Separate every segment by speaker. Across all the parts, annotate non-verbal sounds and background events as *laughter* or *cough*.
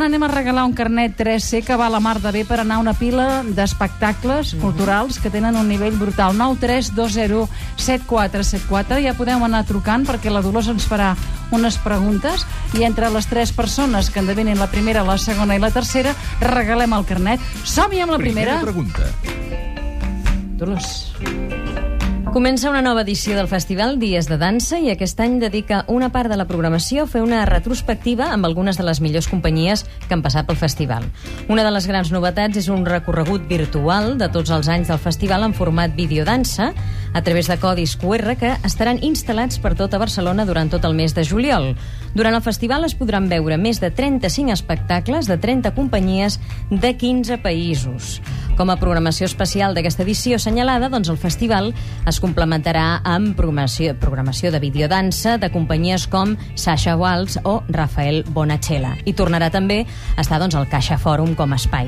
Speaker 1: Anem a regalar un carnet 3C que va a la mar de bé per anar a una pila d'espectacles culturals que tenen un nivell brutal. 932017474. Ja podeu anar trucant perquè la Dolors ens farà unes preguntes i entre les tres persones que endevinen la primera, la segona i la tercera regalem el carnet. Som-hi amb la primera.
Speaker 2: pregunta.
Speaker 1: Dolors.
Speaker 3: Comença una nova edició del Festival Dies de Dansa i aquest any dedica una part de la programació a fer una retrospectiva amb algunes de les millors companyies que han passat pel festival. Una de les grans novetats és un recorregut virtual de tots els anys del festival en format videodansa a través de codis QR que estaran instal·lats per tota Barcelona durant tot el mes de juliol. Durant el festival es podran veure més de 35 espectacles de 30 companyies de 15 països. Com a programació especial d'aquesta edició assenyalada, doncs el festival es complementarà amb programació, programació de videodansa de companyies com Sasha Waltz o Rafael Bonachela. I tornarà també a estar doncs, al Caixa Fòrum com a espai.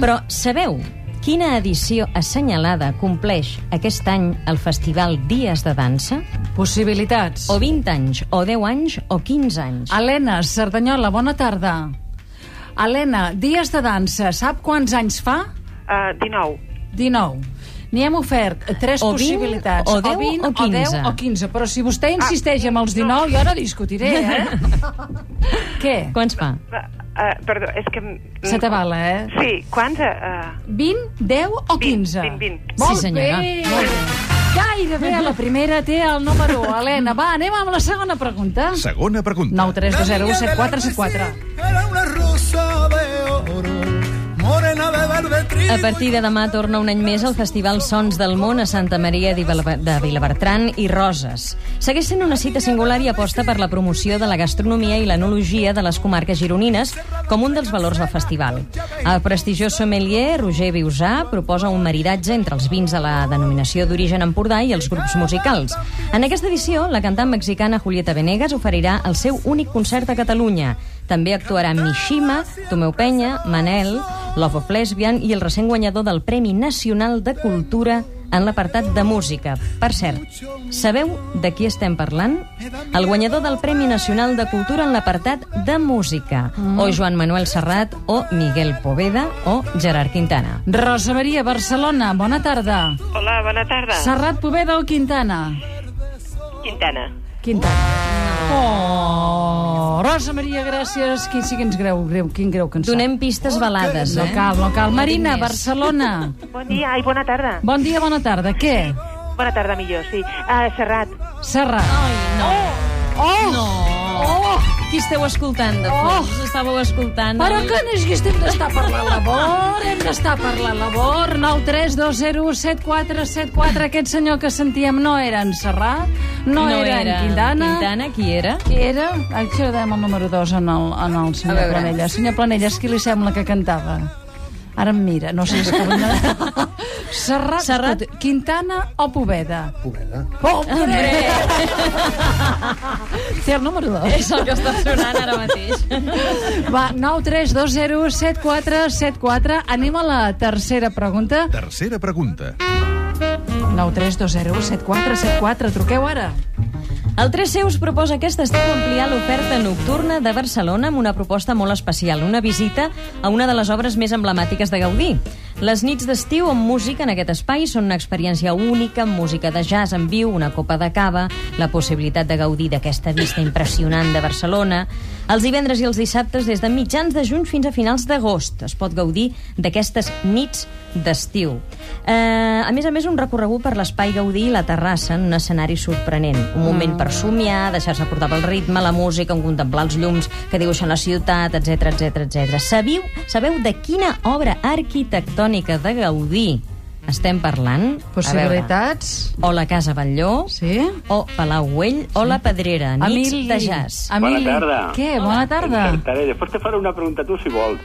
Speaker 3: Però sabeu quina edició assenyalada compleix aquest any el Festival Dies de Dansa?
Speaker 1: Possibilitats.
Speaker 3: O 20 anys, o 10 anys, o 15 anys?
Speaker 1: Helena, Cerdanyola, bona tarda. Helena, dies de dansa, sap quants anys fa?
Speaker 4: Uh, 19.
Speaker 1: 19. N'hi hem ofert tres
Speaker 3: O 20,
Speaker 1: possibilitats.
Speaker 3: o 10, o 15.
Speaker 1: 10 o 15. Però si vostè insisteix amb els 19, jo ara discutiré, *laughs* eh? Què?
Speaker 3: Quants fa?
Speaker 4: Uh, uh, perdó, és que... mm,
Speaker 1: Se t'avala, eh?
Speaker 4: Sí, quants? Uh,
Speaker 1: 20, 10 o 15?
Speaker 4: 20, 20.
Speaker 1: Molt
Speaker 3: Sí, senyora.
Speaker 1: bé. Molt bé. Gairebé a la primera té el número 1. Helena, va, anem amb la segona pregunta.
Speaker 2: Segona pregunta.
Speaker 1: 9 3 2 0 1 7 4 7 4.
Speaker 5: Era una rosa de oro, morena de verde trigo.
Speaker 3: A partir de demà torna un any més al Festival Sons del Món a Santa Maria de Vilab- de Vilabertran i Roses. Segueix sent una cita singular i aposta per la promoció de la gastronomia i l'enologia de les comarques gironines com un dels valors del festival. El prestigiós sommelier Roger Viusà proposa un maridatge entre els vins de la denominació d'origen Empordà i els grups musicals. En aquesta edició, la cantant mexicana Julieta Venegas oferirà el seu únic concert a Catalunya. També actuarà Mishima, Tomeu Penya, Manel, Love of Lesbian i el recent guanyador del Premi Nacional de Cultura en l'apartat de música. Per cert, sabeu de qui estem parlant? El guanyador del Premi Nacional de Cultura en l'apartat de música,
Speaker 1: Mm.
Speaker 3: o Joan Manuel Serrat, o Miguel Poveda, o Gerard Quintana.
Speaker 1: Rosa Maria, Barcelona, bona tarda.
Speaker 4: hola, bona tarda.
Speaker 1: Serrat Poveda o Quintana?
Speaker 4: Quintana.
Speaker 1: Quintana. Ah. Oh, Rosa Maria, gràcies. Quin, sí que ens greu, greu, quin greu Oh, que ens sap.
Speaker 3: Donem pistes balades,
Speaker 1: No
Speaker 3: eh?
Speaker 1: cal, no cal. Marina,
Speaker 3: tinc més.
Speaker 1: Barcelona.
Speaker 4: Bon dia, ai, bona tarda.
Speaker 1: Bon dia, bona tarda. Què?
Speaker 4: Bona tarda, millor, sí. Uh, Serrat.
Speaker 1: Serrat.
Speaker 3: Oh! No! Oh! Qui esteu escoltant, de fons? Oh! Estàveu escoltant...
Speaker 1: Però que no és que estem d'estar per la labor, hem d'estar per la labor. 9 3 2 0 7 4 7 4. Aquest senyor que sentíem no era en Serrat, no, era, en Quintana.
Speaker 3: Quintana, qui era?
Speaker 1: Qui era? Això ho dèiem el número 2 en el, en el senyor
Speaker 3: A veure.
Speaker 1: Planella. Senyor Planelles, qui li sembla que cantava? Ara em mira, no sé si és que...
Speaker 3: *laughs*
Speaker 1: Serrat,
Speaker 3: Serrat.
Speaker 1: Serrat, Quintana o Poveda?
Speaker 5: Poveda.
Speaker 1: Hombre! Té el número 2.
Speaker 3: És el que està sonant ara mateix. *laughs*
Speaker 1: Va, 9 3 2 0 7 4 7 4. Anem a la tercera pregunta.
Speaker 2: Tercera pregunta.
Speaker 1: 9 3 2 0 7 4 7 4. Truqueu ara.
Speaker 3: El 3C us proposa aquest estiu ampliar l'oferta nocturna de Barcelona amb una proposta molt especial, una visita a una de les obres més emblemàtiques de Gaudí. Les nits d'estiu amb música en aquest espai són una experiència única, amb música de jazz en viu, una copa de cava, la possibilitat de gaudir d'aquesta vista impressionant de Barcelona. Els divendres i els dissabtes, des de mitjans de juny fins a finals d'agost, es pot gaudir d'aquestes nits d'estiu. Eh, a més a més, un recorregut per l'espai Gaudí i la terrassa en un escenari sorprenent. Un moment
Speaker 1: Mm.
Speaker 3: per somiar, deixar-se portar pel ritme, la música, en contemplar els llums que dibuixen la ciutat, etc etc etc. Sabeu, sabeu de quina obra arquitectònica de Gaudí estem parlant? A
Speaker 1: Possibilitats?
Speaker 3: veure, O la Casa Batlló,
Speaker 1: Sí?
Speaker 3: o Palau Güell, o la Pedrera, nits
Speaker 1: Emili.
Speaker 3: de jazz.
Speaker 1: Emili.
Speaker 6: tarda.
Speaker 1: Què? Bona tarda.
Speaker 6: Encertaré. Després te faré una pregunta a tu, si vols.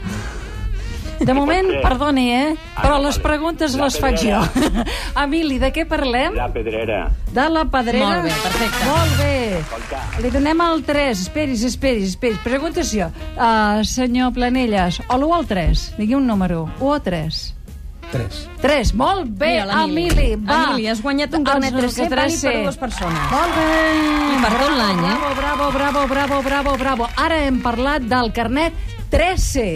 Speaker 1: De moment,
Speaker 6: Potser.
Speaker 1: perdoni, eh?
Speaker 6: Ah,
Speaker 1: Però
Speaker 6: no,
Speaker 1: les
Speaker 6: vale.
Speaker 1: preguntes
Speaker 6: La
Speaker 1: les faig jo. *laughs*
Speaker 6: pedrera.
Speaker 1: Emili, de què parlem?
Speaker 6: La pedrera.
Speaker 1: De la pedrera?
Speaker 3: Molt bé, perfecte.
Speaker 1: Molt bé.
Speaker 6: Escolta,
Speaker 1: Li donem el 3. Esperis, esperis, esperis. Preguntació. Uh, senyor Planelles, o l'1 o el 3? Digui un número. 1 o 3?
Speaker 5: Tres.
Speaker 1: 3. Molt bé,
Speaker 3: Mira, l'Emili.
Speaker 1: Emili. Va.
Speaker 3: Emili, has guanyat un carnet
Speaker 1: Els
Speaker 3: 3C, vàlid per
Speaker 1: 3C.
Speaker 3: dues persones.
Speaker 1: Molt bé.
Speaker 3: I per tot l'any, eh?
Speaker 1: Bravo, bravo, bravo, bravo, bravo, bravo. Ara hem parlat del carnet 13.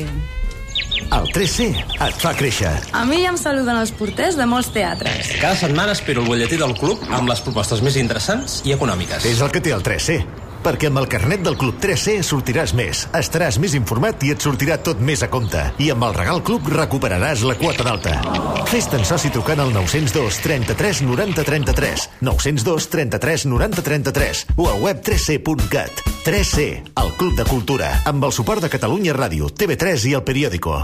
Speaker 7: El 3C et fa créixer.
Speaker 8: A mi ja em saluden els porters de molts teatres.
Speaker 9: Cada setmana espero el butlletí del club amb les propostes més interessants i econòmiques.
Speaker 7: És el que té el 3C. Perquè amb el carnet del Club 3C sortiràs més, estaràs més informat i et sortirà tot més a compte. I amb el Regal Club recuperaràs la quota d'alta. Fes-te'n soci trucant al 902 33 90 33, 902 33 90 33 o a web 3C.cat. 3C, el Club de Cultura, amb el suport de Catalunya Ràdio, TV3 i El Periòdico.